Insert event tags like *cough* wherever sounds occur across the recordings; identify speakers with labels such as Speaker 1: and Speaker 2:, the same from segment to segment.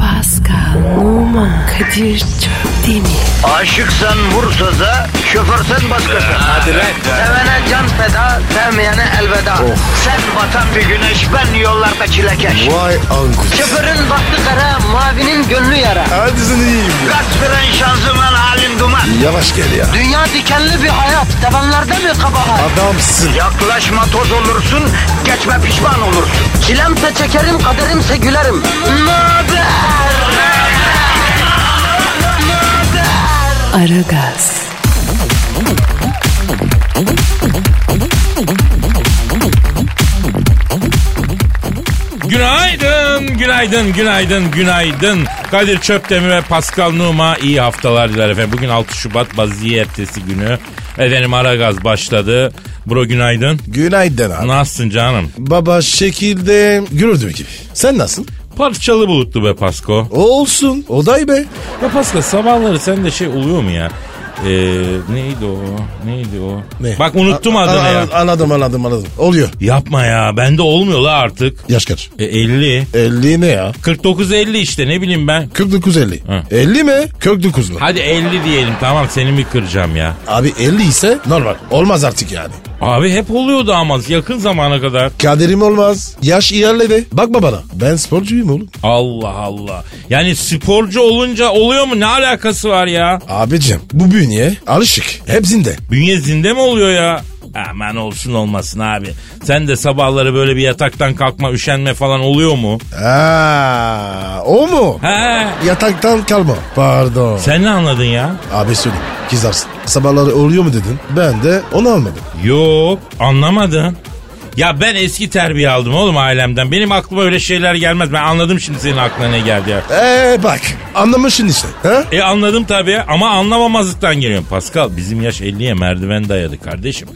Speaker 1: Pascal, Oman, Kadir çok değil mi?
Speaker 2: Aşıksan vursa da şoförsen başkasın.
Speaker 3: Hadi lan. Oh.
Speaker 2: Sevene can feda, sevmeyene elveda. Sen batan bir güneş, ben yollarda çilekeş.
Speaker 3: Vay anku.
Speaker 2: Şoförün baktı kara, mavinin gönlü yara.
Speaker 3: Hadi sen iyiyim ya.
Speaker 2: Kasperen şanzıman halin duman.
Speaker 3: Yavaş gel ya.
Speaker 2: Dünya dikenli bir hayat, sevenlerde mi kabahar?
Speaker 3: Adamsın.
Speaker 2: Yaklaşma toz olursun, geçme pişman olursun. Çilemse çekerim, kaderimse gülerim. Möber!
Speaker 1: Aragaz,
Speaker 4: Günaydın, günaydın, günaydın, günaydın. Kadir Çöptemir ve Pascal Numa iyi haftalar diler efendim. Bugün 6 Şubat Baziye ertesi günü. Efendim Aragaz başladı. Bro günaydın.
Speaker 3: Günaydın abi.
Speaker 4: Nasılsın canım?
Speaker 3: Baba şekilde görürdüğü gibi. Sen nasılsın?
Speaker 4: Parçalı bulutlu be Pasko.
Speaker 3: Olsun. Oday be.
Speaker 4: Ya Pasko sabahları sende şey oluyor mu ya? Ee, neydi o? Neydi o?
Speaker 3: Ne?
Speaker 4: Bak unuttum
Speaker 3: A-
Speaker 4: adını
Speaker 3: a-
Speaker 4: ya.
Speaker 3: a- Anladım anladım anladım. Oluyor.
Speaker 4: Yapma ya bende olmuyor la artık.
Speaker 3: Yaş kaç?
Speaker 4: E, 50.
Speaker 3: 50 ne ya?
Speaker 4: 49-50 işte ne bileyim ben.
Speaker 3: 49 50.
Speaker 4: Hı.
Speaker 3: 50 mi? 49 mu?
Speaker 4: Hadi 50 diyelim tamam seni mi kıracağım ya?
Speaker 3: Abi 50 ise normal. Olmaz artık yani.
Speaker 4: Abi hep oluyordu ama yakın zamana kadar.
Speaker 3: Kaderim olmaz. Yaş ilerledi. Bakma bana. Ben sporcuyum oğlum.
Speaker 4: Allah Allah. Yani sporcu olunca oluyor mu? Ne alakası var ya?
Speaker 3: Abicim bu bünye alışık. Hepsinde.
Speaker 4: Bünye zinde mi oluyor ya? Aman olsun olmasın abi. Sen de sabahları böyle bir yataktan kalkma, üşenme falan oluyor mu?
Speaker 3: Aa, o mu?
Speaker 4: He.
Speaker 3: Yataktan kalma. Pardon.
Speaker 4: Sen ne anladın ya?
Speaker 3: Abi söyle kızarsın. Sabahları oluyor mu dedin? Ben de onu almadım.
Speaker 4: Yok, anlamadım. Ya ben eski terbiye aldım oğlum ailemden. Benim aklıma öyle şeyler gelmez. Ben anladım şimdi senin aklına ne geldi ya.
Speaker 3: Eee Ee, bak anlamışsın işte. He?
Speaker 4: E anladım tabii ama anlamamazlıktan geliyorum. Pascal bizim yaş 50'ye merdiven dayadı kardeşim.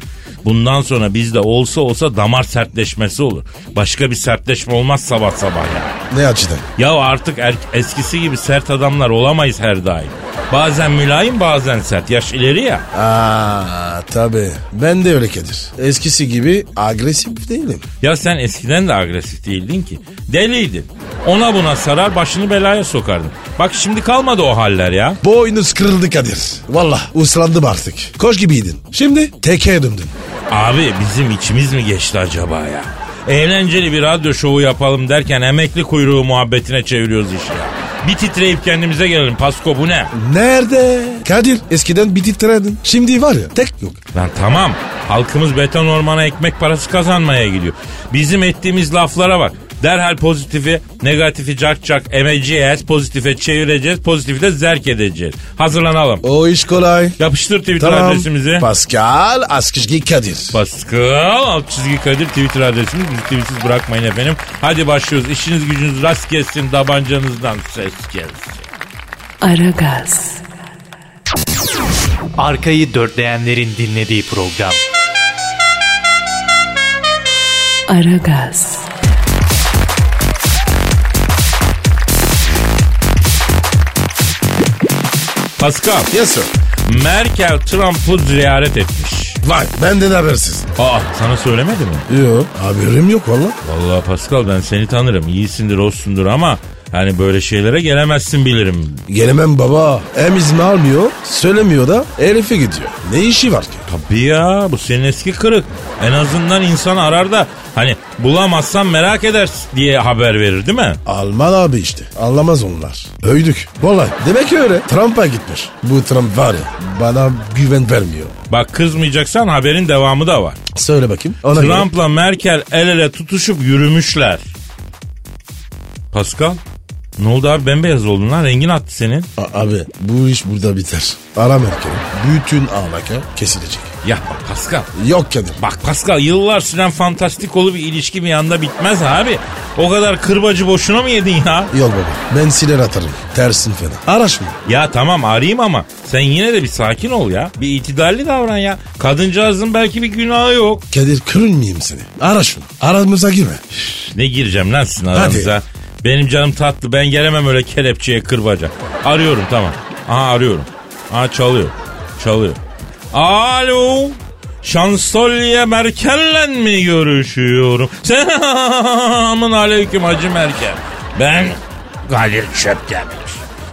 Speaker 4: Bundan sonra bizde olsa olsa damar sertleşmesi olur. Başka bir sertleşme olmaz sabah sabah ya.
Speaker 3: Ne açıdan?
Speaker 4: Ya artık er- eskisi gibi sert adamlar olamayız her daim. Bazen mülayim bazen sert. Yaş ileri ya.
Speaker 3: Aa tabii. Ben de öyle Kadir. Eskisi gibi agresif değilim.
Speaker 4: Ya sen eskiden de agresif değildin ki. Deliydin. Ona buna sarar başını belaya sokardın. Bak şimdi kalmadı o haller ya.
Speaker 3: Boynuz kırıldı Kadir. Valla uslandım artık. Koş gibiydin. Şimdi teke döndün.
Speaker 4: Abi bizim içimiz mi geçti acaba ya? Eğlenceli bir radyo şovu yapalım derken emekli kuyruğu muhabbetine çeviriyoruz işi ya. Bir titreyip kendimize gelelim. Pasko bu ne?
Speaker 3: Nerede? Kadir eskiden bir titrerdin. Şimdi var ya tek yok.
Speaker 4: Lan tamam. Halkımız beton ormana ekmek parası kazanmaya gidiyor. Bizim ettiğimiz laflara bak. Derhal pozitifi, negatifi cak cak emeceğiz, pozitife çevireceğiz, pozitifi de zerk edeceğiz. Hazırlanalım.
Speaker 3: O iş kolay.
Speaker 4: Yapıştır Twitter adresimizi.
Speaker 3: Pascal Askışgi Kadir.
Speaker 4: Pascal alt çizgi Kadir Twitter adresimiz. Bizi tweetsiz bırakmayın efendim. Hadi başlıyoruz. İşiniz gücünüz rast gelsin. Dabancanızdan ses gelsin.
Speaker 1: Aragaz,
Speaker 5: Arkayı dörtleyenlerin dinlediği program.
Speaker 1: Aragaz,
Speaker 4: Pascal,
Speaker 3: yes sir.
Speaker 4: Merkel Trump'ı ziyaret etmiş.
Speaker 3: Vay benden habersiz.
Speaker 4: Aa sana söylemedi mi?
Speaker 3: Yok haberim yok valla.
Speaker 4: Vallahi Pascal ben seni tanırım. İyisindir, olsundur ama hani böyle şeylere gelemezsin bilirim.
Speaker 3: Gelemem baba. Hem izin almıyor, söylemiyor da herife gidiyor. Ne işi var ki?
Speaker 4: Tabii ya bu senin eski kırık. En azından insan arar da hani bulamazsan merak edersin diye haber verir değil mi?
Speaker 3: Alman abi işte. Anlamaz onlar. Öydük. Vallahi demek ki öyle. Trump'a gitmiş. Bu Trump var ya bana güven vermiyor.
Speaker 4: Bak kızmayacaksan haberin devamı da var.
Speaker 3: Söyle bakayım. Ona göre.
Speaker 4: Trump'la Merkel el ele tutuşup yürümüşler. Pascal? Ne oldu abi bembeyaz oldun lan rengin attı senin.
Speaker 3: A- abi bu iş burada biter. Ara Merkel'i. Bütün alaka kesilecek.
Speaker 4: Ya bak Pascal.
Speaker 3: Yok Kadir.
Speaker 4: Bak Pascal yıllar süren fantastikolu bir ilişki bir anda bitmez abi. O kadar kırbacı boşuna mı yedin ya?
Speaker 3: Yok baba. Ben siler atarım. Tersin fena. Araşma.
Speaker 4: Ya tamam arayayım ama sen yine de bir sakin ol ya. Bir itidalli davran ya. Kadıncağızın belki bir günahı yok.
Speaker 3: Kadir kırılmayayım seni. Ara şunu. Aramıza girme.
Speaker 4: Ne gireceğim lan sizin aranıza? Benim canım tatlı ben gelemem öyle kelepçeye kırbaca. Arıyorum tamam. Aha arıyorum. Aha çalıyor. Çalıyor. Alo. Şansölye Merkel'le mi *laughs* görüşüyorum? Selamun aleyküm Hacı Merkel. Ben Kadir Çöptemir.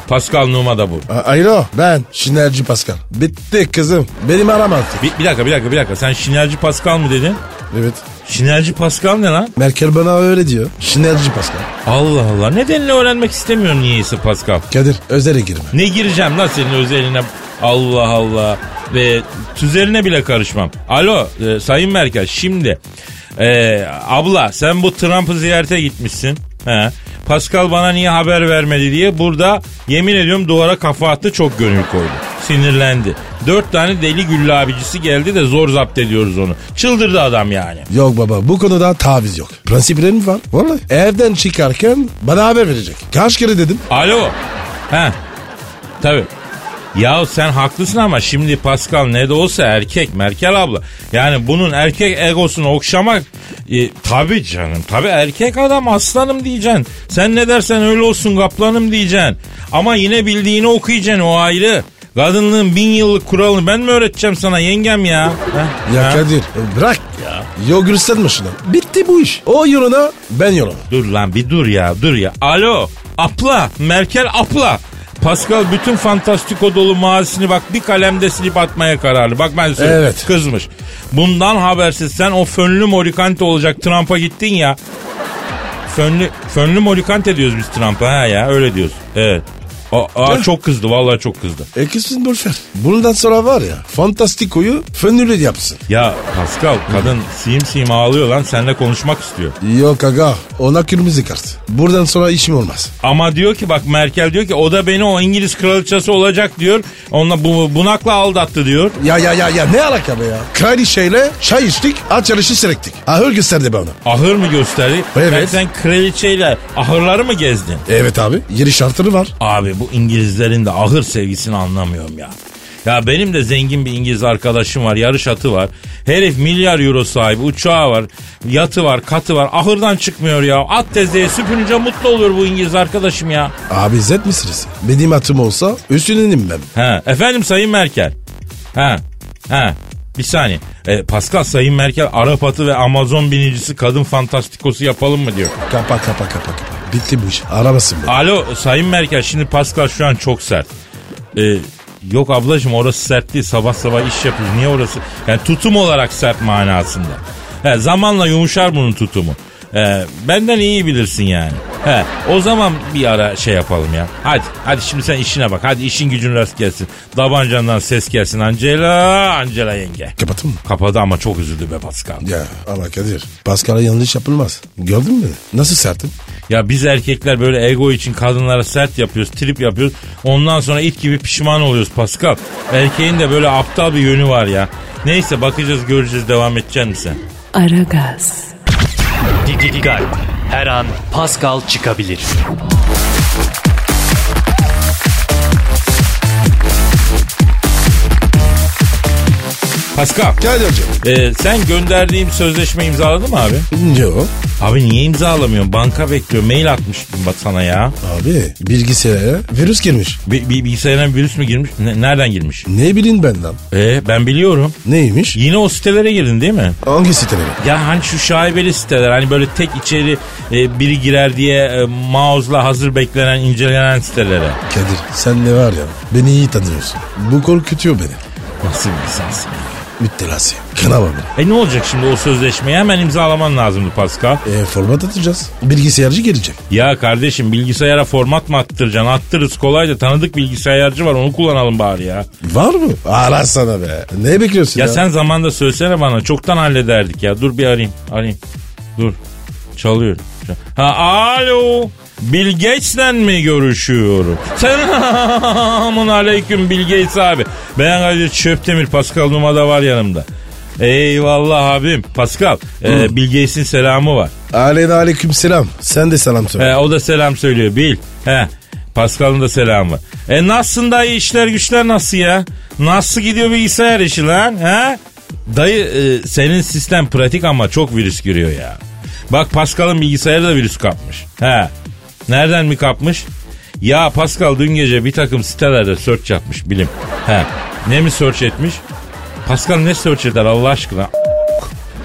Speaker 4: Pascal Numa da bu.
Speaker 3: A- Alo ben Şinerci Pascal. Bitti kızım. Benim aramam.
Speaker 4: Bir, bir dakika bir dakika bir dakika. Sen Şinerci Pascal mı dedin?
Speaker 3: Evet.
Speaker 4: Şinerci Pascal ne lan?
Speaker 3: Merkel bana öyle diyor. Şinerci Pascal.
Speaker 4: Allah Allah. Nedenini öğrenmek istemiyorum niyeyse Pascal.
Speaker 3: Kadir özele girme.
Speaker 4: Ne gireceğim lan senin özeline? Allah Allah. Ve tüzeline bile karışmam. Alo e, Sayın Merkel şimdi. e, abla sen bu Trump'ı ziyarete gitmişsin. He. Pascal bana niye haber vermedi diye burada yemin ediyorum duvara kafa attı çok gönül koydu. Sinirlendi. Dört tane deli güllü abicisi geldi de zor zapt ediyoruz onu. Çıldırdı adam yani.
Speaker 3: Yok baba bu konuda taviz yok. Prensiplerim var. Vallahi evden çıkarken bana haber verecek. Kaç kere dedim.
Speaker 4: Alo. He. Tabii. Ya sen haklısın ama şimdi Pascal ne de olsa erkek Merkel abla. Yani bunun erkek egosunu okşamak e, tabii canım. Tabii erkek adam aslanım diyeceksin. Sen ne dersen öyle olsun kaplanım diyeceksin. Ama yine bildiğini okuyacaksın o ayrı. Kadınlığın bin yıllık kuralını ben mi öğreteceğim sana yengem ya? Heh,
Speaker 3: Ya
Speaker 4: ha?
Speaker 3: Kadir e, bırak ya. Yok gösterme şunu. Bitti bu iş. O yoluna ben yoluma.
Speaker 4: Dur lan bir dur ya dur ya. Alo apla Merkel apla. Pascal bütün fantastiko dolu mazisini bak bir kalemde silip atmaya kararlı. Bak ben söyleyeyim.
Speaker 3: Evet.
Speaker 4: Kızmış. Bundan habersiz sen o fönlü morikante olacak Trump'a gittin ya. Fönlü, fönlü morikante diyoruz biz Trump'a ha ya öyle diyoruz. Evet. Aa, aa, çok kızdı vallahi çok kızdı.
Speaker 3: E kızsın boşver. Bundan sonra var ya Fantastiko'yu fönüyle yapsın.
Speaker 4: Ya Pascal kadın siyim siyim ağlıyor lan seninle konuşmak istiyor.
Speaker 3: Yok aga ona kırmızı kart. Buradan sonra işim olmaz.
Speaker 4: Ama diyor ki bak Merkel diyor ki o da beni o İngiliz kraliçesi olacak diyor. Onunla bu, bunakla aldattı diyor.
Speaker 3: Ya ya ya ya ne alaka be ya? Kraliçeyle çay içtik, aç yarışı seyrettik. Ahır gösterdi bana.
Speaker 4: Ahır mı gösterdi?
Speaker 3: Evet.
Speaker 4: Ben sen kraliçeyle ahırları mı gezdin?
Speaker 3: Evet abi, yeni şartları var.
Speaker 4: Abi bu İngilizlerin de ahır sevgisini anlamıyorum ya. Ya benim de zengin bir İngiliz arkadaşım var. Yarış atı var. Herif milyar euro sahibi. Uçağı var. Yatı var. Katı var. Ahırdan çıkmıyor ya. At tezeye süpürünce mutlu olur bu İngiliz arkadaşım ya.
Speaker 3: Abi zet misiniz? Benim atım olsa üstünenim ben.
Speaker 4: Ha, efendim Sayın Merkel. Ha, ha. Bir saniye. E, Pascal Sayın Merkel Arap atı ve Amazon binicisi kadın fantastikosu yapalım mı diyor.
Speaker 3: Kapa kapa kapa kapa. Bitti bu iş. Aramasın beni.
Speaker 4: Alo Sayın Merkel şimdi Pascal şu an çok sert. E, yok ablacığım orası sert değil sabah sabah iş yapıyoruz. Niye orası? Yani tutum olarak sert manasında. He, zamanla yumuşar bunun tutumu. E, benden iyi bilirsin yani. He, o zaman bir ara şey yapalım ya. Hadi hadi şimdi sen işine bak. Hadi işin gücün rast gelsin. Dabancandan ses gelsin Angela. Angela yenge.
Speaker 3: Kapatın mı?
Speaker 4: Kapadı ama çok üzüldü be Pascal.
Speaker 3: Ya ama Kadir. Pascal'a yanlış yapılmaz. Gördün mü beni? Nasıl sertim?
Speaker 4: Ya biz erkekler böyle ego için kadınlara sert yapıyoruz, trip yapıyoruz. Ondan sonra it gibi pişman oluyoruz Pascal. Erkeğin de böyle aptal bir yönü var ya. Neyse bakacağız göreceğiz devam edeceksin mi sen?
Speaker 1: Aragaz,
Speaker 5: Didi Dikkat. Her an Pascal çıkabilir.
Speaker 4: Pascal
Speaker 3: Kadir hocam.
Speaker 4: e, sen gönderdiğim sözleşme imzaladın mı abi?
Speaker 3: Yok.
Speaker 4: Abi niye imzalamıyorsun? Banka bekliyor mail atmış bak sana ya.
Speaker 3: Abi bilgisayara virüs girmiş.
Speaker 4: Bi- bi- bilgisayarına virüs mü girmiş? Ne- nereden girmiş?
Speaker 3: Ne bileyim ben lan?
Speaker 4: E, ben biliyorum.
Speaker 3: Neymiş?
Speaker 4: Yine o sitelere girdin değil mi?
Speaker 3: Hangi sitelere?
Speaker 4: Ya hani şu şaibeli siteler hani böyle tek içeri e, biri girer diye e, mouse'la hazır beklenen incelenen sitelere.
Speaker 3: Kadir sen ne var ya beni iyi tanıyorsun. Bu korkutuyor beni.
Speaker 4: Nasıl bir insansın? ya?
Speaker 3: Müttelası. Kanama beni.
Speaker 4: E ne olacak şimdi o sözleşmeyi hemen imzalaman lazımdı Pascal.
Speaker 3: E, format atacağız. Bilgisayarcı gelecek.
Speaker 4: Ya kardeşim bilgisayara format mı attıracaksın? Attırız kolay da tanıdık bilgisayarcı var onu kullanalım bari ya.
Speaker 3: Var mı? Ara sana be. Ne bekliyorsun
Speaker 4: Ya,
Speaker 3: ya?
Speaker 4: sen zamanda söylesene bana çoktan hallederdik ya. Dur bir arayayım arayayım. Dur çalıyorum. Ha alo. Bilgeç'le mi görüşüyorum? Selamun aleyküm Bilgeç abi. Ben Kadir Çöptemir Pascal Numa da var yanımda. Eyvallah abim. Pascal, e, Bilgeç'in selamı var.
Speaker 3: Aleyna aleyküm selam. Sen de selam söyle.
Speaker 4: He, o da selam söylüyor bil. He. Pascal'ın da selamı. E nasılsın dayı işler güçler nasıl ya? Nasıl gidiyor bilgisayar işi lan? He? Dayı e, senin sistem pratik ama çok virüs giriyor ya. Bak Pascal'ın bilgisayarı da virüs kapmış. He. Nereden mi kapmış? Ya Pascal dün gece bir takım sitelerde search yapmış bilim. He. Ne mi search etmiş? Pascal ne search eder Allah aşkına?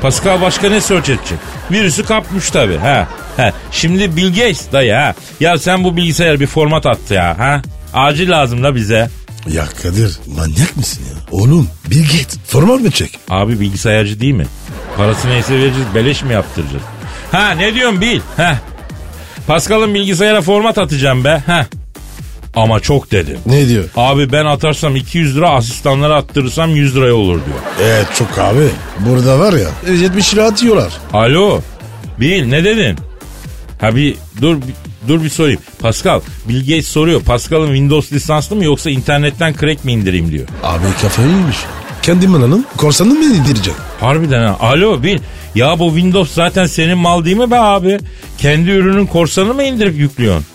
Speaker 4: Pascal başka ne search edecek? Virüsü kapmış tabi. He. He, şimdi Bill Gates dayı ha. Ya sen bu bilgisayar bir format attı ya ha. Acil lazım da bize.
Speaker 3: Ya Kadir manyak mısın ya? Oğlum bir git. Formal mı çek?
Speaker 4: Abi bilgisayarcı değil mi? Parası neyse vereceğiz beleş mi yaptıracağız? Ha ne diyorsun Bil? Ha. Pascal'ın bilgisayara format atacağım be. Ha. Ama çok dedim.
Speaker 3: Ne diyor?
Speaker 4: Abi ben atarsam 200 lira asistanlara attırırsam 100 liraya olur diyor.
Speaker 3: Ee çok abi. Burada var ya 70 lira atıyorlar.
Speaker 4: Alo. Bil ne dedin? Ha bir dur bir- dur bir sorayım. Pascal, Bill Gates soruyor. Pascal'ın Windows lisanslı mı yoksa internetten crack mi indireyim diyor.
Speaker 3: Abi kafayı yemiş. Kendim alalım. Korsanı mı indirecek?
Speaker 4: Harbiden ha. Alo Bil. Ya bu Windows zaten senin mal değil mi be abi? Kendi ürünün korsanı mı indirip yüklüyorsun?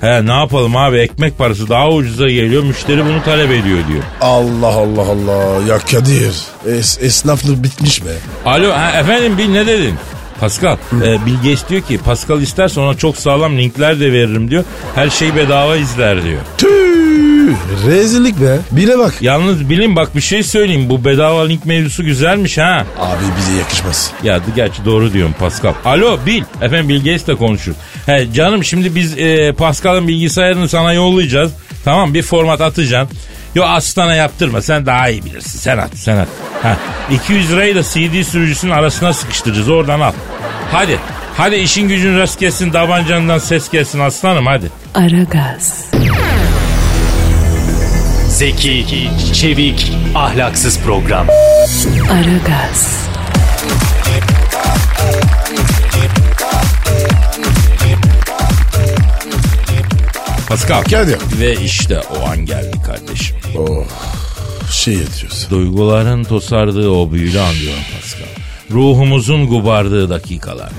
Speaker 4: He ne yapalım abi ekmek parası daha ucuza geliyor müşteri bunu talep ediyor diyor.
Speaker 3: Allah Allah Allah. Ya Kadir. Es, esnaflık bitmiş be.
Speaker 4: Alo ha, efendim Bil ne dedin? Pascal, e, Bill Gates diyor ki Pascal isterse ona çok sağlam linkler de veririm diyor. Her şeyi bedava izler diyor.
Speaker 3: Tüh. Rezillik be. Bile bak.
Speaker 4: Yalnız bilin bak bir şey söyleyeyim bu bedava link mevzusu güzelmiş ha.
Speaker 3: Abi bize yakışmaz.
Speaker 4: Ya d- gerçi doğru diyorum Pascal. Alo Bil. Efendim Bill Gates de konuşur. He canım şimdi biz e, Pascal'ın bilgisayarını sana yollayacağız. Tamam bir format atacaksın. Yo aslana yaptırma sen daha iyi bilirsin. Sen at sen at. Ha, 200 lirayı da CD sürücüsünün arasına sıkıştıracağız oradan al. Hadi. Hadi işin gücün rast gelsin tabancandan ses gelsin aslanım hadi.
Speaker 1: Aragaz,
Speaker 5: Zeki, çevik, ahlaksız program.
Speaker 1: Aragaz,
Speaker 4: Pascal.
Speaker 3: Kadir.
Speaker 4: Ve işte o an geldi kardeşim.
Speaker 3: Oh. Şey ediyorsun.
Speaker 4: Duyguların tosardığı o büyülü an diyorum Pascal. Ruhumuzun gubardığı dakikalar.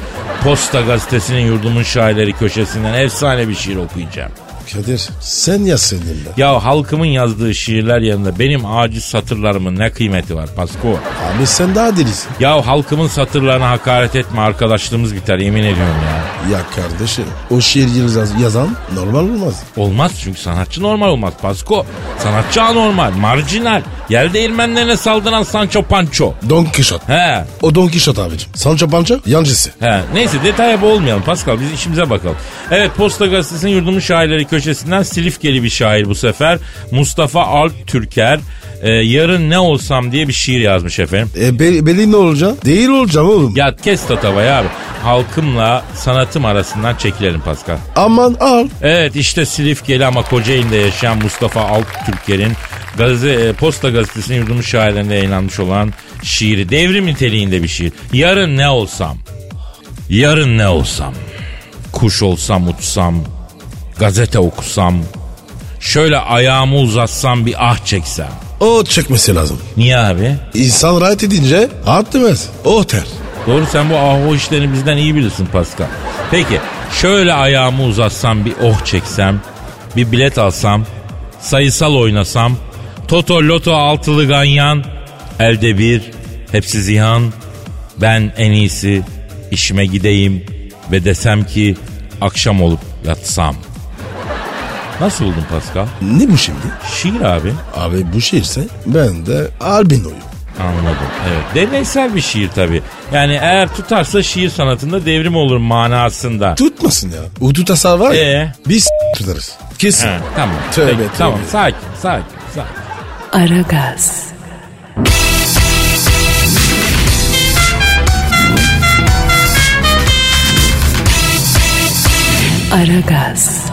Speaker 4: Posta gazetesinin yurdumun şairleri köşesinden efsane bir şiir okuyacağım.
Speaker 3: Kadir sen yazsaydın be.
Speaker 4: Ya halkımın yazdığı şiirler yanında benim aciz satırlarımın ne kıymeti var Pasko?
Speaker 3: Abi sen daha delisin.
Speaker 4: Ya halkımın satırlarına hakaret etme arkadaşlığımız biter yemin ediyorum ya.
Speaker 3: Ya kardeşim o şiir yaz- yazan normal olmaz.
Speaker 4: Olmaz çünkü sanatçı normal olmaz Pasko. Sanatçı anormal, marjinal. Yer değirmenlerine saldıran Sancho Pancho.
Speaker 3: Don Quixote.
Speaker 4: He
Speaker 3: O Don Quixote abicim. Sancho Pança yancısı.
Speaker 4: He, neyse detaya boğulmayalım Pascal biz işimize bakalım. Evet Posta Gazetesi'nin yurdumun şairleri köşesinden Silifkeli bir şair bu sefer. Mustafa Alp Türker e, yarın ne olsam diye bir şiir yazmış efendim.
Speaker 3: E be, belli ne olacak? Değil olacağım oğlum.
Speaker 4: Ya kes tatavayı abi. Halkımla sanatım arasından çekilelim Pascal.
Speaker 3: Aman al.
Speaker 4: Evet işte Silifkeli ama Kocaeli'nde yaşayan Mustafa Alp Türker'in gaze, e, Posta Gazetesi'nin yurdumun şairlerinde yayınlanmış olan şiiri. Devrim niteliğinde bir şiir. Yarın ne olsam? Yarın ne olsam? Kuş olsam uçsam? Gazete okusam? Şöyle ayağımı uzatsam bir ah çeksem?
Speaker 3: O çekmesi lazım.
Speaker 4: Niye abi?
Speaker 3: İnsan rahat edince rahat demez. O ter.
Speaker 4: Doğru sen bu ah o işlerini bizden iyi bilirsin Pascal. Peki şöyle ayağımı uzatsam bir oh çeksem, bir bilet alsam, sayısal oynasam, toto loto altılı ganyan, elde bir, hepsi ziyan, ben en iyisi işime gideyim ve desem ki akşam olup yatsam. Nasıl buldun Pascal?
Speaker 3: Ne bu şimdi?
Speaker 4: Şiir abi.
Speaker 3: Abi bu şiirse ben de albinoyum.
Speaker 4: Anladım. Evet. Deneysel bir şiir tabii. Yani eğer tutarsa şiir sanatında devrim olur manasında.
Speaker 3: Tutmasın ya. Udu tasar var ya.
Speaker 4: Ee?
Speaker 3: Biz tutarız. Kesin.
Speaker 4: Ha, tamam.
Speaker 3: Tövbe,
Speaker 4: Peki,
Speaker 3: tövbe.
Speaker 4: Tamam. Sakin, sakin, sakin.
Speaker 1: Aragaz, Aragaz,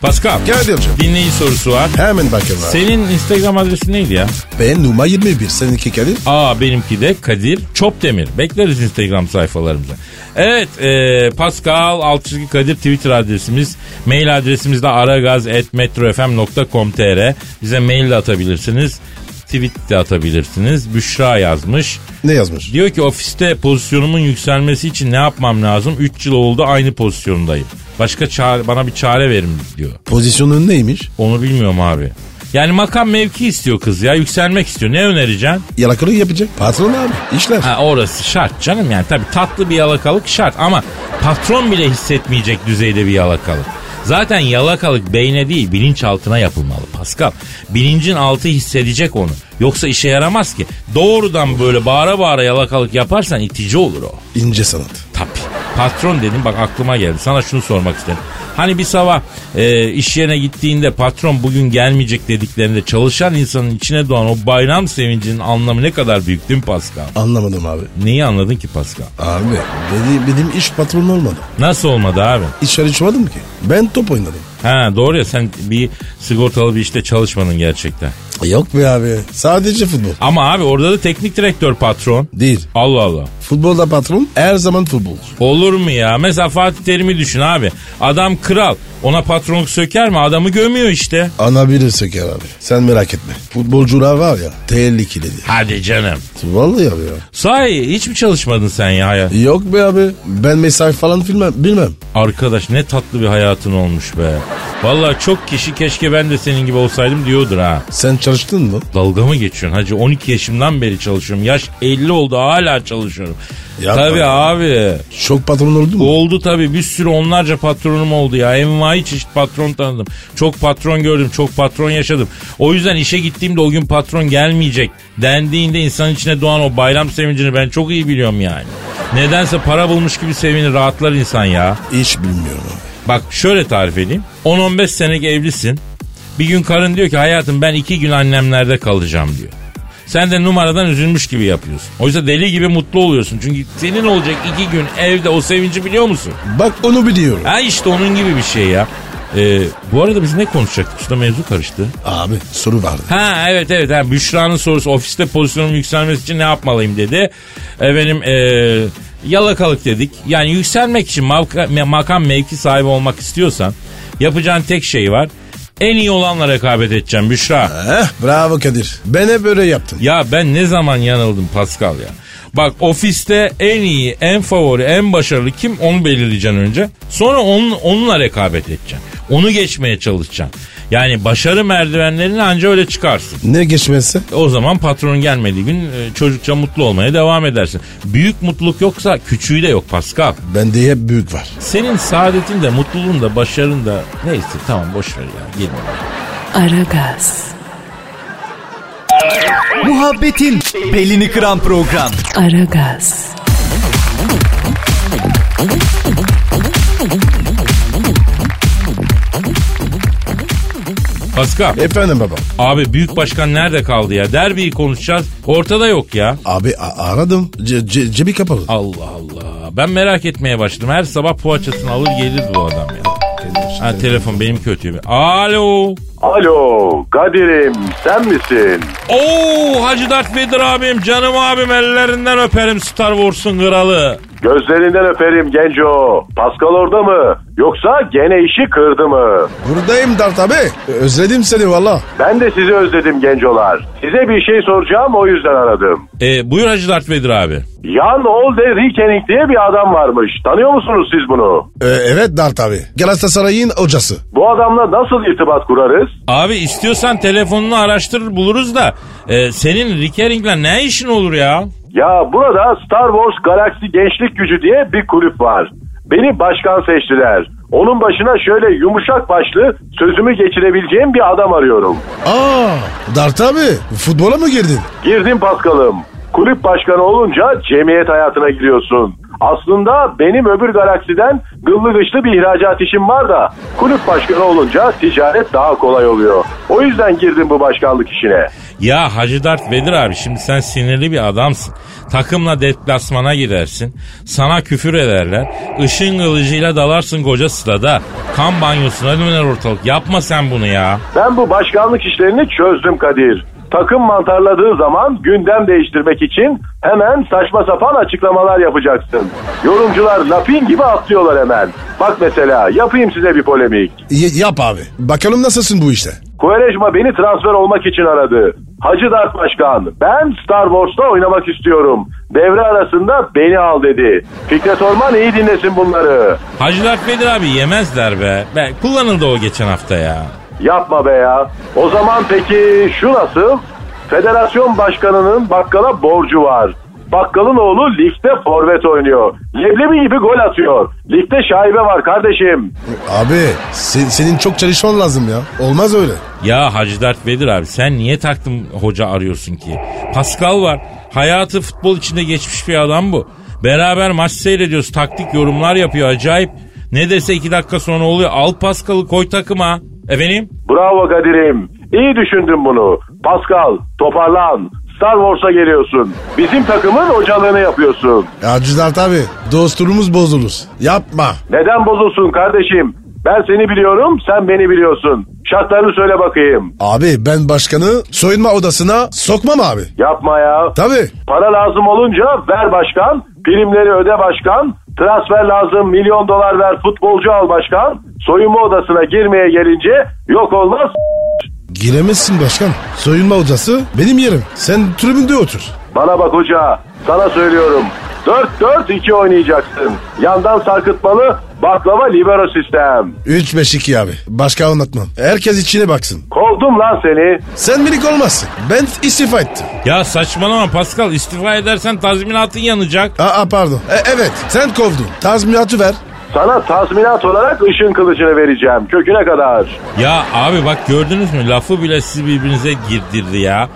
Speaker 4: Pascal.
Speaker 3: Kadir hocam.
Speaker 4: Dinleyici sorusu var.
Speaker 3: Hemen bakın abi.
Speaker 4: Senin Instagram adresin neydi ya?
Speaker 3: Ben numara 21. Seninki Kadir.
Speaker 4: Aa benimki de Kadir Çopdemir. Bekleriz Instagram sayfalarımıza. Evet e, Pascal Altçizgi Kadir Twitter adresimiz. Mail adresimiz de aragaz.metrofm.com.tr Bize mail de atabilirsiniz. Tweet de atabilirsiniz. Büşra yazmış.
Speaker 3: Ne yazmış?
Speaker 4: Diyor ki ofiste pozisyonumun yükselmesi için ne yapmam lazım? 3 yıl oldu aynı pozisyondayım. Başka çare, bana bir çare verin diyor.
Speaker 3: Pozisyonun neymiş?
Speaker 4: Onu bilmiyorum abi. Yani makam mevki istiyor kız ya. Yükselmek istiyor. Ne önereceksin?
Speaker 3: Yalakalık yapacak. Patron abi. İşler.
Speaker 4: Ha orası şart canım yani. Tabii tatlı bir yalakalık şart ama patron bile hissetmeyecek düzeyde bir yalakalık. Zaten yalakalık beyne değil bilinçaltına yapılmalı Pascal. Bilincin altı hissedecek onu. Yoksa işe yaramaz ki. Doğrudan böyle bağıra bağıra yalakalık yaparsan itici olur o.
Speaker 3: İnce sanat.
Speaker 4: Tabii. Patron dedim bak aklıma geldi. Sana şunu sormak istedim. Hani bir sabah e, iş yerine gittiğinde patron bugün gelmeyecek dediklerinde çalışan insanın içine doğan o bayram sevincinin anlamı ne kadar büyük değil mi Pascal?
Speaker 3: Anlamadım abi.
Speaker 4: Neyi anladın ki Pascal?
Speaker 3: Abi benim, benim iş patron olmadı.
Speaker 4: Nasıl olmadı abi?
Speaker 3: İçeri çıkmadım ki. Ben top oynadım.
Speaker 4: Ha doğru ya sen bir sigortalı bir işte çalışmadın gerçekten.
Speaker 3: Yok be abi. Sadece futbol.
Speaker 4: Ama abi orada da teknik direktör patron.
Speaker 3: Değil.
Speaker 4: Allah Allah.
Speaker 3: Futbolda patron her zaman futbolcu.
Speaker 4: Olur mu ya? Mesela Fatih Terim'i düşün abi. Adam kral. Ona patronluk söker mi? Adamı gömüyor işte.
Speaker 3: Ana bilir söker abi. Sen merak etme. Futbolcular var ya tehlikelidir.
Speaker 4: Hadi canım.
Speaker 3: Vallahi abi ya.
Speaker 4: Sahi hiç mi çalışmadın sen ya? hayat?
Speaker 3: Yok be abi. Ben mesai falan bilmem. bilmem.
Speaker 4: Arkadaş ne tatlı bir hayatın olmuş be. Vallahi çok kişi keşke ben de senin gibi olsaydım diyordur ha.
Speaker 3: Sen çalıştın mı?
Speaker 4: Dalga mı geçiyorsun hacı? 12 yaşımdan beri çalışıyorum. Yaş 50 oldu hala çalışıyorum.
Speaker 3: Yapma
Speaker 4: Tabii
Speaker 3: ya.
Speaker 4: abi.
Speaker 3: Çok patron oldun mu?
Speaker 4: Oldu tabii bir sürü onlarca patronum oldu ya. Envai çeşit patron tanıdım. Çok patron gördüm, çok patron yaşadım. O yüzden işe gittiğimde o gün patron gelmeyecek dendiğinde insanın içine doğan o bayram sevincini ben çok iyi biliyorum yani. Nedense para bulmuş gibi sevinir rahatlar insan ya.
Speaker 3: Hiç bilmiyorum abi.
Speaker 4: Bak şöyle tarif edeyim. 10-15 senelik evlisin. Bir gün karın diyor ki hayatım ben iki gün annemlerde kalacağım diyor. Sen de numaradan üzülmüş gibi yapıyorsun. Oysa deli gibi mutlu oluyorsun. Çünkü senin olacak iki gün evde o sevinci biliyor musun?
Speaker 3: Bak onu biliyorum.
Speaker 4: Ha işte onun gibi bir şey ya. Ee, bu arada biz ne konuşacaktık? Usta mevzu karıştı.
Speaker 3: Abi soru vardı.
Speaker 4: Ha evet evet. Ha, Büşra'nın sorusu ofiste pozisyonum yükselmesi için ne yapmalıyım dedi. Efendim ee, yalakalık dedik. Yani yükselmek için mavka- makam mevki sahibi olmak istiyorsan yapacağın tek şey var. En iyi olanla rekabet edeceğim Büşra.
Speaker 3: Heh, Eh, bravo Kadir. Ben hep böyle yaptım.
Speaker 4: Ya ben ne zaman yanıldım Pascal ya. Bak ofiste en iyi, en favori, en başarılı kim onu belirleyeceksin önce. Sonra onun, onunla rekabet edeceksin. Onu geçmeye çalışacaksın. Yani başarı merdivenlerini anca öyle çıkarsın.
Speaker 3: Ne geçmezse?
Speaker 4: O zaman patronun gelmediği gün e, çocukça mutlu olmaya devam edersin. Büyük mutluluk yoksa küçüğü de yok Pascal.
Speaker 3: Bende hep büyük var.
Speaker 4: Senin saadetin de, mutluluğun da, başarın da neyse tamam boş ver ya. Girme.
Speaker 1: Aragaz,
Speaker 5: Muhabbetin belini kıran program.
Speaker 1: Aragaz,
Speaker 4: Pascal,
Speaker 3: Efendim baba.
Speaker 4: abi büyük başkan nerede kaldı ya? Derbiyi konuşacağız. Ortada yok ya.
Speaker 3: Abi a- aradım. Ce- ce- cebi kapalı.
Speaker 4: Allah Allah. Ben merak etmeye başladım. Her sabah poğaçasını alır gelir bu adam ya. Ha telefon benim kötü. Alo.
Speaker 6: Alo Kadir'im sen misin?
Speaker 4: Oo Hacı Dert Vedir abim canım abim ellerinden öperim Star Wars'un kralı.
Speaker 6: Gözlerinden öperim genco. Pascal orada mı? Yoksa gene işi kırdı mı?
Speaker 3: Buradayım Dart abi. Özledim seni valla.
Speaker 6: Ben de sizi özledim gencolar. Size bir şey soracağım o yüzden aradım.
Speaker 4: E, buyur Hacı Dert Vedir abi.
Speaker 6: Jan Olde Rikening diye bir adam varmış. Tanıyor musunuz siz bunu?
Speaker 3: Ee, evet Dart abi. Galatasaray'ın hocası.
Speaker 6: Bu adamla nasıl irtibat kurarız?
Speaker 4: Abi istiyorsan telefonunu araştırır buluruz da e, senin Rickering'le ne işin olur ya?
Speaker 6: Ya burada Star Wars Galaxy Gençlik Gücü diye bir kulüp var. Beni başkan seçtiler. Onun başına şöyle yumuşak başlı sözümü geçirebileceğim bir adam arıyorum.
Speaker 3: Aa Dart abi futbola mı girdin?
Speaker 6: Girdim Paskal'ım. Kulüp başkanı olunca cemiyet hayatına giriyorsun. Aslında benim öbür galaksiden gıllı gışlı bir ihracat işim var da kulüp başkanı olunca ticaret daha kolay oluyor. O yüzden girdim bu başkanlık işine.
Speaker 4: Ya Hacı Dert Vedir abi şimdi sen sinirli bir adamsın. Takımla deplasmana gidersin. Sana küfür ederler. Işın kılıcıyla dalarsın koca stada. Kan banyosuna döner ortalık. Yapma sen bunu ya.
Speaker 6: Ben bu başkanlık işlerini çözdüm Kadir. Takım mantarladığı zaman gündem değiştirmek için hemen saçma sapan açıklamalar yapacaksın. Yorumcular lapin gibi atlıyorlar hemen. Bak mesela yapayım size bir polemik.
Speaker 3: Y- yap abi. Bakalım nasılsın bu işte.
Speaker 6: Kuerejma beni transfer olmak için aradı. Hacı Dert Başkan, ben Star Wars'ta oynamak istiyorum. Devre arasında beni al dedi. Fikret Orman iyi dinlesin bunları.
Speaker 4: Hacı Dert Vedir abi yemezler be. be. Kullanıldı o geçen hafta ya.
Speaker 6: Yapma be ya. O zaman peki şu nasıl? Federasyon başkanının bakkala borcu var. Bakkalın oğlu ligde forvet oynuyor. Leblebi gibi gol atıyor. Ligde şaibe var kardeşim.
Speaker 3: Abi sen- senin çok çalışman lazım ya. Olmaz öyle.
Speaker 4: Ya Hacı Dert Vedir abi sen niye taktın hoca arıyorsun ki? Pascal var. Hayatı futbol içinde geçmiş bir adam bu. Beraber maç seyrediyoruz. Taktik yorumlar yapıyor acayip. Ne dese iki dakika sonra oluyor. Al Pascal'ı koy takıma. Efendim?
Speaker 6: Bravo Kadir'im. İyi düşündün bunu. Pascal, toparlan. Star Wars'a geliyorsun. Bizim takımın hocalığını yapıyorsun.
Speaker 3: Ya Cüzdart abi dostluğumuz bozulur. Yapma.
Speaker 6: Neden bozulsun kardeşim? Ben seni biliyorum, sen beni biliyorsun. Şartlarını söyle bakayım.
Speaker 3: Abi ben başkanı soyunma odasına sokmam abi.
Speaker 6: Yapma ya.
Speaker 3: Tabii.
Speaker 6: Para lazım olunca ver başkan, primleri öde başkan, transfer lazım milyon dolar ver futbolcu al başkan, soyunma odasına girmeye gelince yok olmaz.
Speaker 3: Giremezsin başkan. Soyunma odası benim yerim. Sen tribünde otur.
Speaker 6: Bana bak hoca, sana söylüyorum. 4-4-2 oynayacaksın. Yandan sarkıtmalı, baklava libero sistem.
Speaker 3: 3-5-2 abi. Başka anlatmam. Herkes içine baksın.
Speaker 6: Kovdum lan seni.
Speaker 3: Sen minik olmazsın. Ben istifa ettim.
Speaker 4: Ya saçmalama Pascal istifa edersen tazminatın yanacak.
Speaker 3: Aa pardon. E, evet sen kovdun. Tazminatı ver.
Speaker 6: Sana tazminat olarak ışın kılıcını vereceğim köküne kadar.
Speaker 4: Ya abi bak gördünüz mü lafı bile sizi birbirinize girdirdi ya.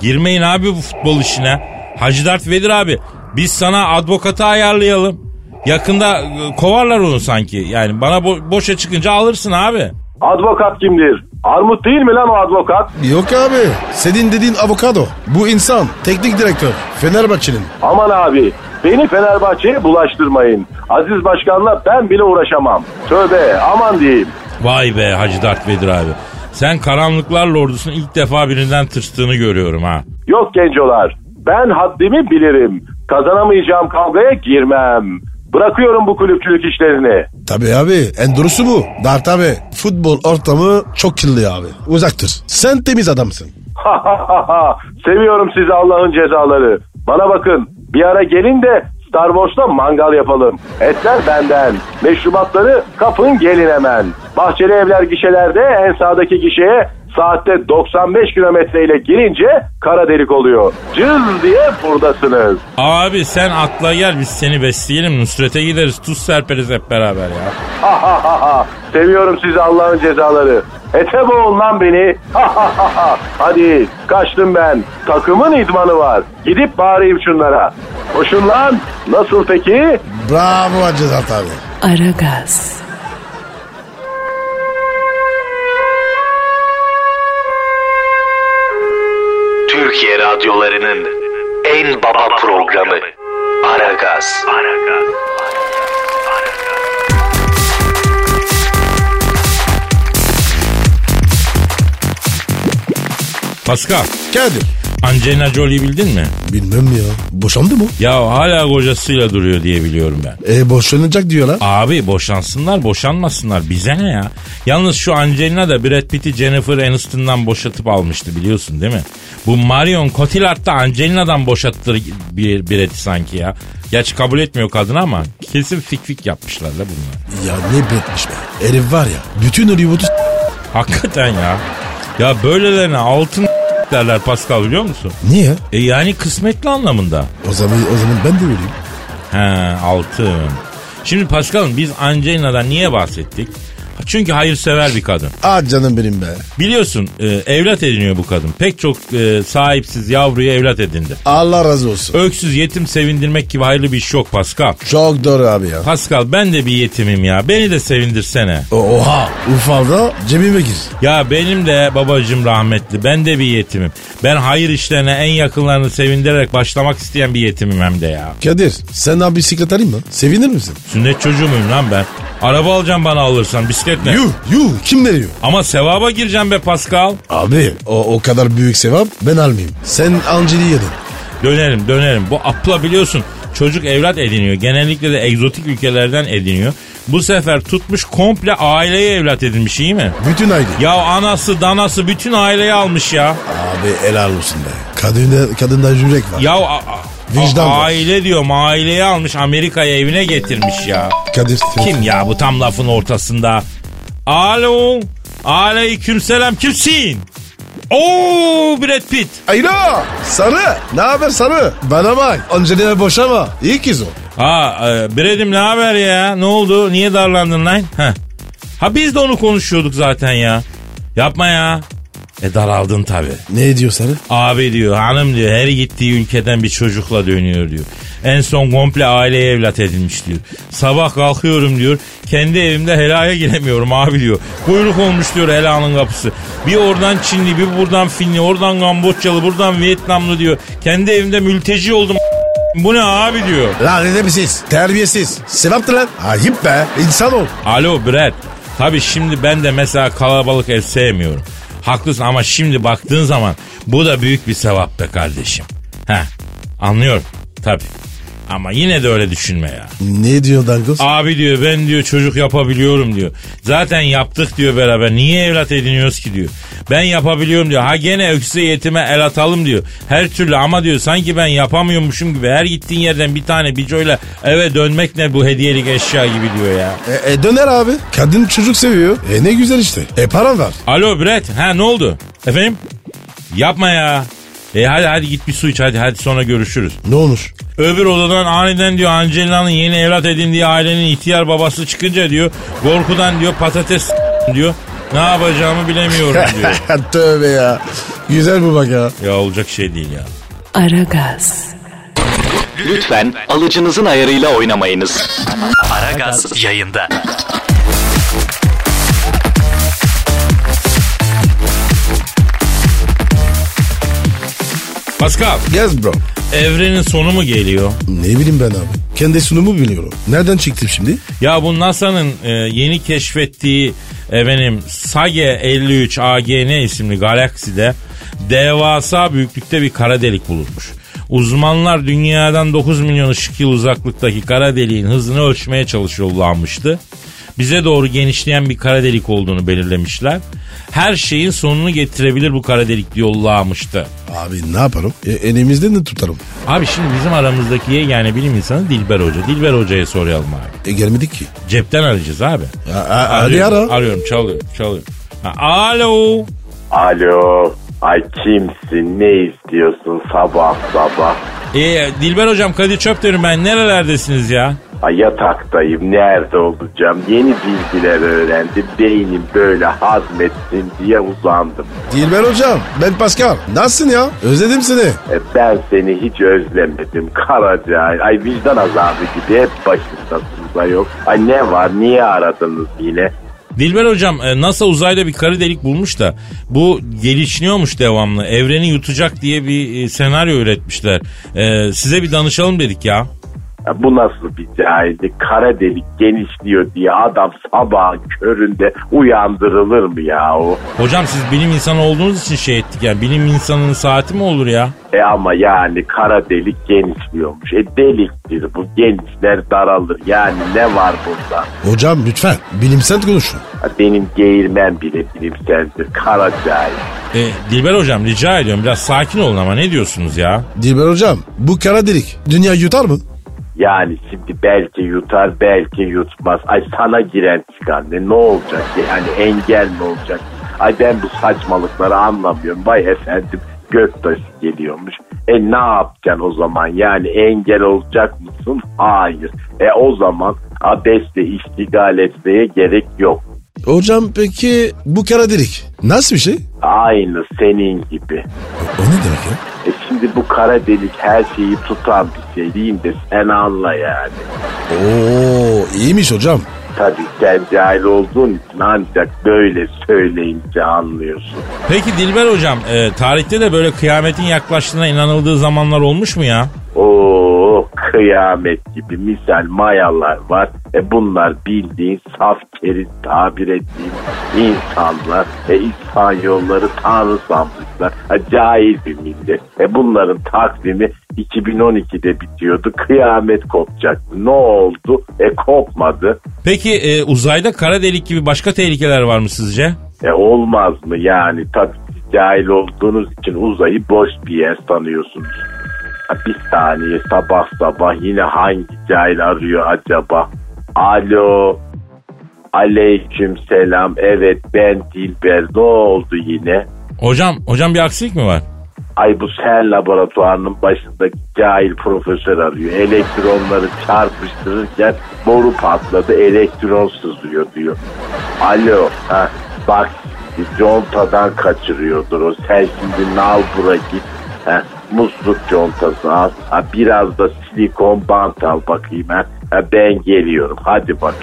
Speaker 4: Girmeyin abi bu futbol işine. Hacı Dert Vedir abi biz sana avukatı ayarlayalım. Yakında e, kovarlar onu sanki. Yani bana bo- boşa çıkınca alırsın abi.
Speaker 6: Advokat kimdir? Armut değil mi lan o advokat?
Speaker 3: Yok abi. Senin dediğin avokado. Bu insan. Teknik direktör. Fenerbahçe'nin.
Speaker 6: Aman abi beni Fenerbahçe'ye bulaştırmayın. Aziz Başkan'la ben bile uğraşamam. Tövbe aman diyeyim.
Speaker 4: Vay be Hacı Dert Vedir abi. Sen karanlıklar lordusunun ilk defa birinden tırstığını görüyorum ha.
Speaker 6: Yok gencolar ben haddimi bilirim. Kazanamayacağım kavgaya girmem. Bırakıyorum bu kulüpçülük işlerini.
Speaker 3: Tabii abi. En doğrusu bu. Dart abi. Futbol ortamı çok kirli abi. Uzaktır. Sen temiz adamsın.
Speaker 6: *laughs* Seviyorum sizi Allah'ın cezaları. Bana bakın bir ara gelin de Star Wars'ta mangal yapalım. Etler benden. Meşrubatları kapın gelin hemen. Bahçeli evler gişelerde en sağdaki gişeye saatte 95 kilometre ile girince kara delik oluyor. Cız diye buradasınız.
Speaker 4: Abi sen atla gel biz seni besleyelim. Nusret'e gideriz tuz serperiz hep beraber ya.
Speaker 6: Seviyorum sizi Allah'ın cezaları. Ete boğun lan beni. Hadi kaçtım ben. Takımın idmanı var. Gidip bağırayım şunlara. Koşun lan. Nasıl peki?
Speaker 3: Bravo Hacı Dert abi.
Speaker 1: Aragaz,
Speaker 7: Türkiye radyolarının en baba programı Aragaz.
Speaker 4: Pascal,
Speaker 3: Kadir.
Speaker 4: Angelina Jolie'yi bildin mi?
Speaker 3: Bilmem ya. Boşandı mı?
Speaker 4: Ya hala kocasıyla duruyor diye biliyorum ben.
Speaker 3: E boşanacak diyorlar.
Speaker 4: Abi boşansınlar boşanmasınlar bize ne ya? Yalnız şu Angelina da Brad Pitt'i Jennifer Aniston'dan boşatıp almıştı biliyorsun değil mi? Bu Marion Cotillard da Angelina'dan boşattı bir Brad'i sanki ya. Gerçi kabul etmiyor kadın ama kesin fikfik yapmışlar da bunlar.
Speaker 3: Ya ne bretmiş be. Herif var ya. Bütün Hollywood'u s-
Speaker 4: Hakikaten ya. Ya böylelerine altın *laughs* derler Pascal biliyor musun?
Speaker 3: Niye?
Speaker 4: E yani kısmetli anlamında.
Speaker 3: O zaman, o zaman ben de öleyim.
Speaker 4: He altın. Şimdi Pascal'ım biz Angelina'dan niye bahsettik? Çünkü hayırsever bir kadın.
Speaker 3: Ah canım benim be.
Speaker 4: Biliyorsun e, evlat ediniyor bu kadın. Pek çok e, sahipsiz yavruyu evlat edindi.
Speaker 3: Allah razı olsun.
Speaker 4: Öksüz yetim sevindirmek gibi hayırlı bir iş yok Pascal.
Speaker 3: Çok doğru abi ya.
Speaker 4: Pascal ben de bir yetimim ya. Beni de sevindirsene.
Speaker 3: O- Oha. Ufalda cebime gir.
Speaker 4: Ya benim de babacım rahmetli. Ben de bir yetimim. Ben hayır işlerine en yakınlarını sevindirerek başlamak isteyen bir yetimim hem de ya.
Speaker 3: Kadir sen abi sekreterin mi? Sevinir misin?
Speaker 4: Sünnet çocuğu muyum lan ben? Araba alacağım bana alırsan bisiklet ne?
Speaker 3: Yuh yuh kim veriyor?
Speaker 4: Ama sevaba gireceğim be Pascal.
Speaker 3: Abi o, o kadar büyük sevap ben almayayım. Sen Angeli yedin.
Speaker 4: Dönerim dönerim. Bu apla biliyorsun çocuk evlat ediniyor. Genellikle de egzotik ülkelerden ediniyor. Bu sefer tutmuş komple aileye evlat edinmiş iyi mi?
Speaker 3: Bütün aile.
Speaker 4: Ya anası danası bütün aileyi almış ya.
Speaker 3: Abi helal olsun be. Kadında, kadında yürek var.
Speaker 4: Ya a- a-
Speaker 3: Vicdan
Speaker 4: a-
Speaker 3: var.
Speaker 4: aile diyorum aileyi almış Amerika'ya evine getirmiş ya.
Speaker 3: Kadir.
Speaker 4: Kim ya bu tam lafın ortasında? Alo. Aleykümselam kimsin? Oo Brad Pitt.
Speaker 3: Alo sarı ne haber sarı? Bana bak Angelina boşama iyi kız o.
Speaker 4: Aa e, Brad'im ne haber ya? Ne oldu? Niye darlandın lan? Heh. Ha biz de onu konuşuyorduk zaten ya. Yapma ya. E daraldın tabii.
Speaker 3: Ne diyor sarı?
Speaker 4: Abi diyor hanım diyor her gittiği ülkeden bir çocukla dönüyor diyor. En son komple aileye evlat edilmiş diyor. Sabah kalkıyorum diyor. Kendi evimde helaya giremiyorum abi diyor. Kuyruk olmuş diyor helanın kapısı. Bir oradan Çinli bir buradan Finli oradan Kamboçyalı buradan Vietnamlı diyor. Kendi evimde mülteci oldum. Bu ne abi diyor.
Speaker 3: Lan edepsiz terbiyesiz sevaptır lan. Ayıp be insan ol.
Speaker 4: Alo Brad. Tabii şimdi ben de mesela kalabalık ev sevmiyorum. Haklısın ama şimdi baktığın zaman bu da büyük bir sevap be kardeşim. He anlıyorum tabii. Ama yine de öyle düşünme ya.
Speaker 3: Ne diyor dangoz?
Speaker 4: Abi diyor ben diyor çocuk yapabiliyorum diyor. Zaten yaptık diyor beraber. Niye evlat ediniyoruz ki diyor. Ben yapabiliyorum diyor. Ha gene öksüze yetime el atalım diyor. Her türlü ama diyor sanki ben yapamıyormuşum gibi. Her gittiğin yerden bir tane bicoyla eve dönmek ne bu hediyelik eşya gibi diyor ya.
Speaker 3: E, e, döner abi. Kadın çocuk seviyor. E ne güzel işte. E param var.
Speaker 4: Alo Brett. Ha ne oldu? Efendim? Yapma ya. E hadi hadi git bir su iç hadi hadi sonra görüşürüz.
Speaker 3: Ne
Speaker 4: *laughs*
Speaker 3: olmuş?
Speaker 4: Öbür odadan aniden diyor Angelina'nın yeni evlat edindiği ailenin ihtiyar babası çıkınca diyor korkudan diyor patates diyor. Ne yapacağımı bilemiyorum diyor.
Speaker 3: *laughs* Tövbe ya. Güzel bu bak ya.
Speaker 4: ya olacak şey değil ya.
Speaker 1: Aragaz,
Speaker 5: Lütfen alıcınızın ayarıyla oynamayınız.
Speaker 8: Aragaz yayında.
Speaker 4: Pascal
Speaker 3: Yes bro.
Speaker 4: evrenin sonu mu geliyor?
Speaker 3: Ne bileyim ben abi. Kendi sunumu biliyorum. Nereden çıktım şimdi?
Speaker 4: Ya bu NASA'nın e, yeni keşfettiği efendim Sage 53 AGN isimli galakside devasa büyüklükte bir kara delik bulunmuş. Uzmanlar dünyadan 9 milyon ışık yılı uzaklıktaki kara deliğin hızını ölçmeye çalışıyorlarmıştı. Bize doğru genişleyen bir kara delik olduğunu belirlemişler. Her şeyin sonunu getirebilir bu kara delik diyorlarmıştı.
Speaker 3: Abi ne yaparım? E, elimizde ne tutarım?
Speaker 4: Abi şimdi bizim aramızdaki yani bilim insanı Dilber Hoca. Dilber Hoca'ya soralım abi.
Speaker 3: E gelmedik ki.
Speaker 4: Cepten arayacağız abi.
Speaker 3: A- a- hadi
Speaker 4: Arıyorum,
Speaker 3: ara.
Speaker 4: Arıyorum çalıyorum çalıyorum. Ha, alo.
Speaker 6: Alo. Ay kimsin? Ne istiyorsun sabah sabah?
Speaker 4: Ee, Dilber hocam Kadir Çöpdemir ben nerelerdesiniz ya?
Speaker 6: Ay yataktayım. Nerede olacağım? Yeni bilgiler öğrendim. Beynim böyle hazmetsin diye uzandım.
Speaker 3: Dilber hocam ben Pascal. Nasılsın ya? Özledim seni.
Speaker 6: E, ben seni hiç özlemedim. Karaca. Ay vicdan azabı gibi hep başındasın da yok. Ay ne var? Niye aradınız yine?
Speaker 4: Dilber hocam e, NASA uzayda bir kara delik bulmuş da bu gelişiyormuş devamlı. Evreni yutacak diye bir e, senaryo üretmişler. E, size bir danışalım dedik ya.
Speaker 6: Ya Bu nasıl bir cahillik? Kara delik genişliyor diye adam sabah köründe uyandırılır mı ya o?
Speaker 4: Hocam siz bilim insanı olduğunuz için şey ettik yani bilim insanının saati mi olur ya?
Speaker 6: E ama yani kara delik genişliyormuş. E deliktir bu genişler daralır. Yani ne var bunda?
Speaker 3: Hocam lütfen bilimsel konuşun.
Speaker 6: Ha, Benim geğirmem bile bilimseldir. Kara cahil.
Speaker 4: E, Dilber hocam rica ediyorum biraz sakin olun ama ne diyorsunuz ya?
Speaker 3: Dilber hocam bu kara delik dünya yutar mı?
Speaker 6: Yani şimdi belki yutar belki yutmaz. Ay sana giren çıkan ne? Ne olacak? Yani engel mi olacak? Ay ben bu saçmalıkları anlamıyorum. Vay efendim göktaşı geliyormuş. E ne yapacaksın o zaman? Yani engel olacak mısın? Hayır. E o zaman abesle iştigal etmeye gerek yok.
Speaker 3: Hocam peki bu kara delik nasıl bir şey?
Speaker 6: Aynı senin gibi.
Speaker 3: O ne demek ya?
Speaker 6: E şimdi bu kara delik her şeyi tutan bir şey değil de sen anla yani.
Speaker 3: Oo iyiymiş hocam.
Speaker 6: Tabii sen cahil olduğun için ancak böyle söyleyince anlıyorsun.
Speaker 4: Peki Dilber hocam e, tarihte de böyle kıyametin yaklaştığına inanıldığı zamanlar olmuş mu ya?
Speaker 6: Oo kıyamet gibi misal mayalar var. E bunlar bildiğin saf keriz tabir ettiğim insanlar. E İspanyolları tanrı sanmışlar. Ha, cahil bir millet. E bunların takvimi 2012'de bitiyordu. Kıyamet kopacaktı. Ne oldu? E kopmadı.
Speaker 4: Peki e, uzayda kara delik gibi başka tehlikeler var mı sizce?
Speaker 6: E olmaz mı yani? Tabii siz cahil olduğunuz için uzayı boş bir yer sanıyorsunuz. Ha, Bir saniye sabah sabah yine hangi cahil arıyor acaba? Alo. Aleyküm selam. Evet ben Dilber. Ne oldu yine?
Speaker 4: Hocam, hocam bir aksilik mi var?
Speaker 6: Ay bu sen laboratuvarının başındaki cahil profesör arıyor. Elektronları çarpıştırırken boru patladı elektron sızıyor diyor. Alo ha bak contadan kaçırıyordur o. Sen şimdi nalbura git. Ha, musluk contası al. Ha, biraz da silikon bant al bakayım. Ha. Ha, ben geliyorum hadi bak.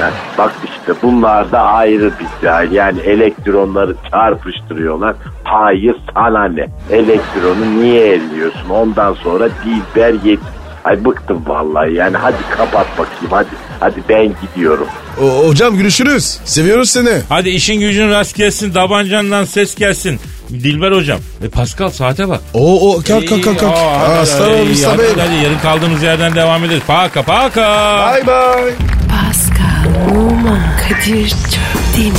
Speaker 6: Ha, bak işte bunlar da ayrı bir cahil. Yani elektronları çarpıştırıyorlar. Hayır sana ne? Elektronu niye elliyorsun? Ondan sonra dilber yet. Ay bıktım vallahi yani hadi kapat bakayım hadi. Hadi ben gidiyorum.
Speaker 3: O- hocam görüşürüz. Seviyoruz seni.
Speaker 4: Hadi işin gücün rast gelsin, tabancandan ses gelsin. Dilber hocam. E Pascal saate bak.
Speaker 3: O o kalk kalk kalk kalk.
Speaker 4: Aa, hadi, hadi,
Speaker 3: Aslanım
Speaker 4: iyi,
Speaker 3: Mustafa.
Speaker 4: hadi, hadi, yarın kaldığımız yerden devam ederiz. Paka paka.
Speaker 3: Bye bye.
Speaker 1: Pascal, Oman, Kadir çok değil mi?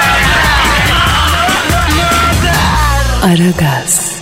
Speaker 1: Aragaz.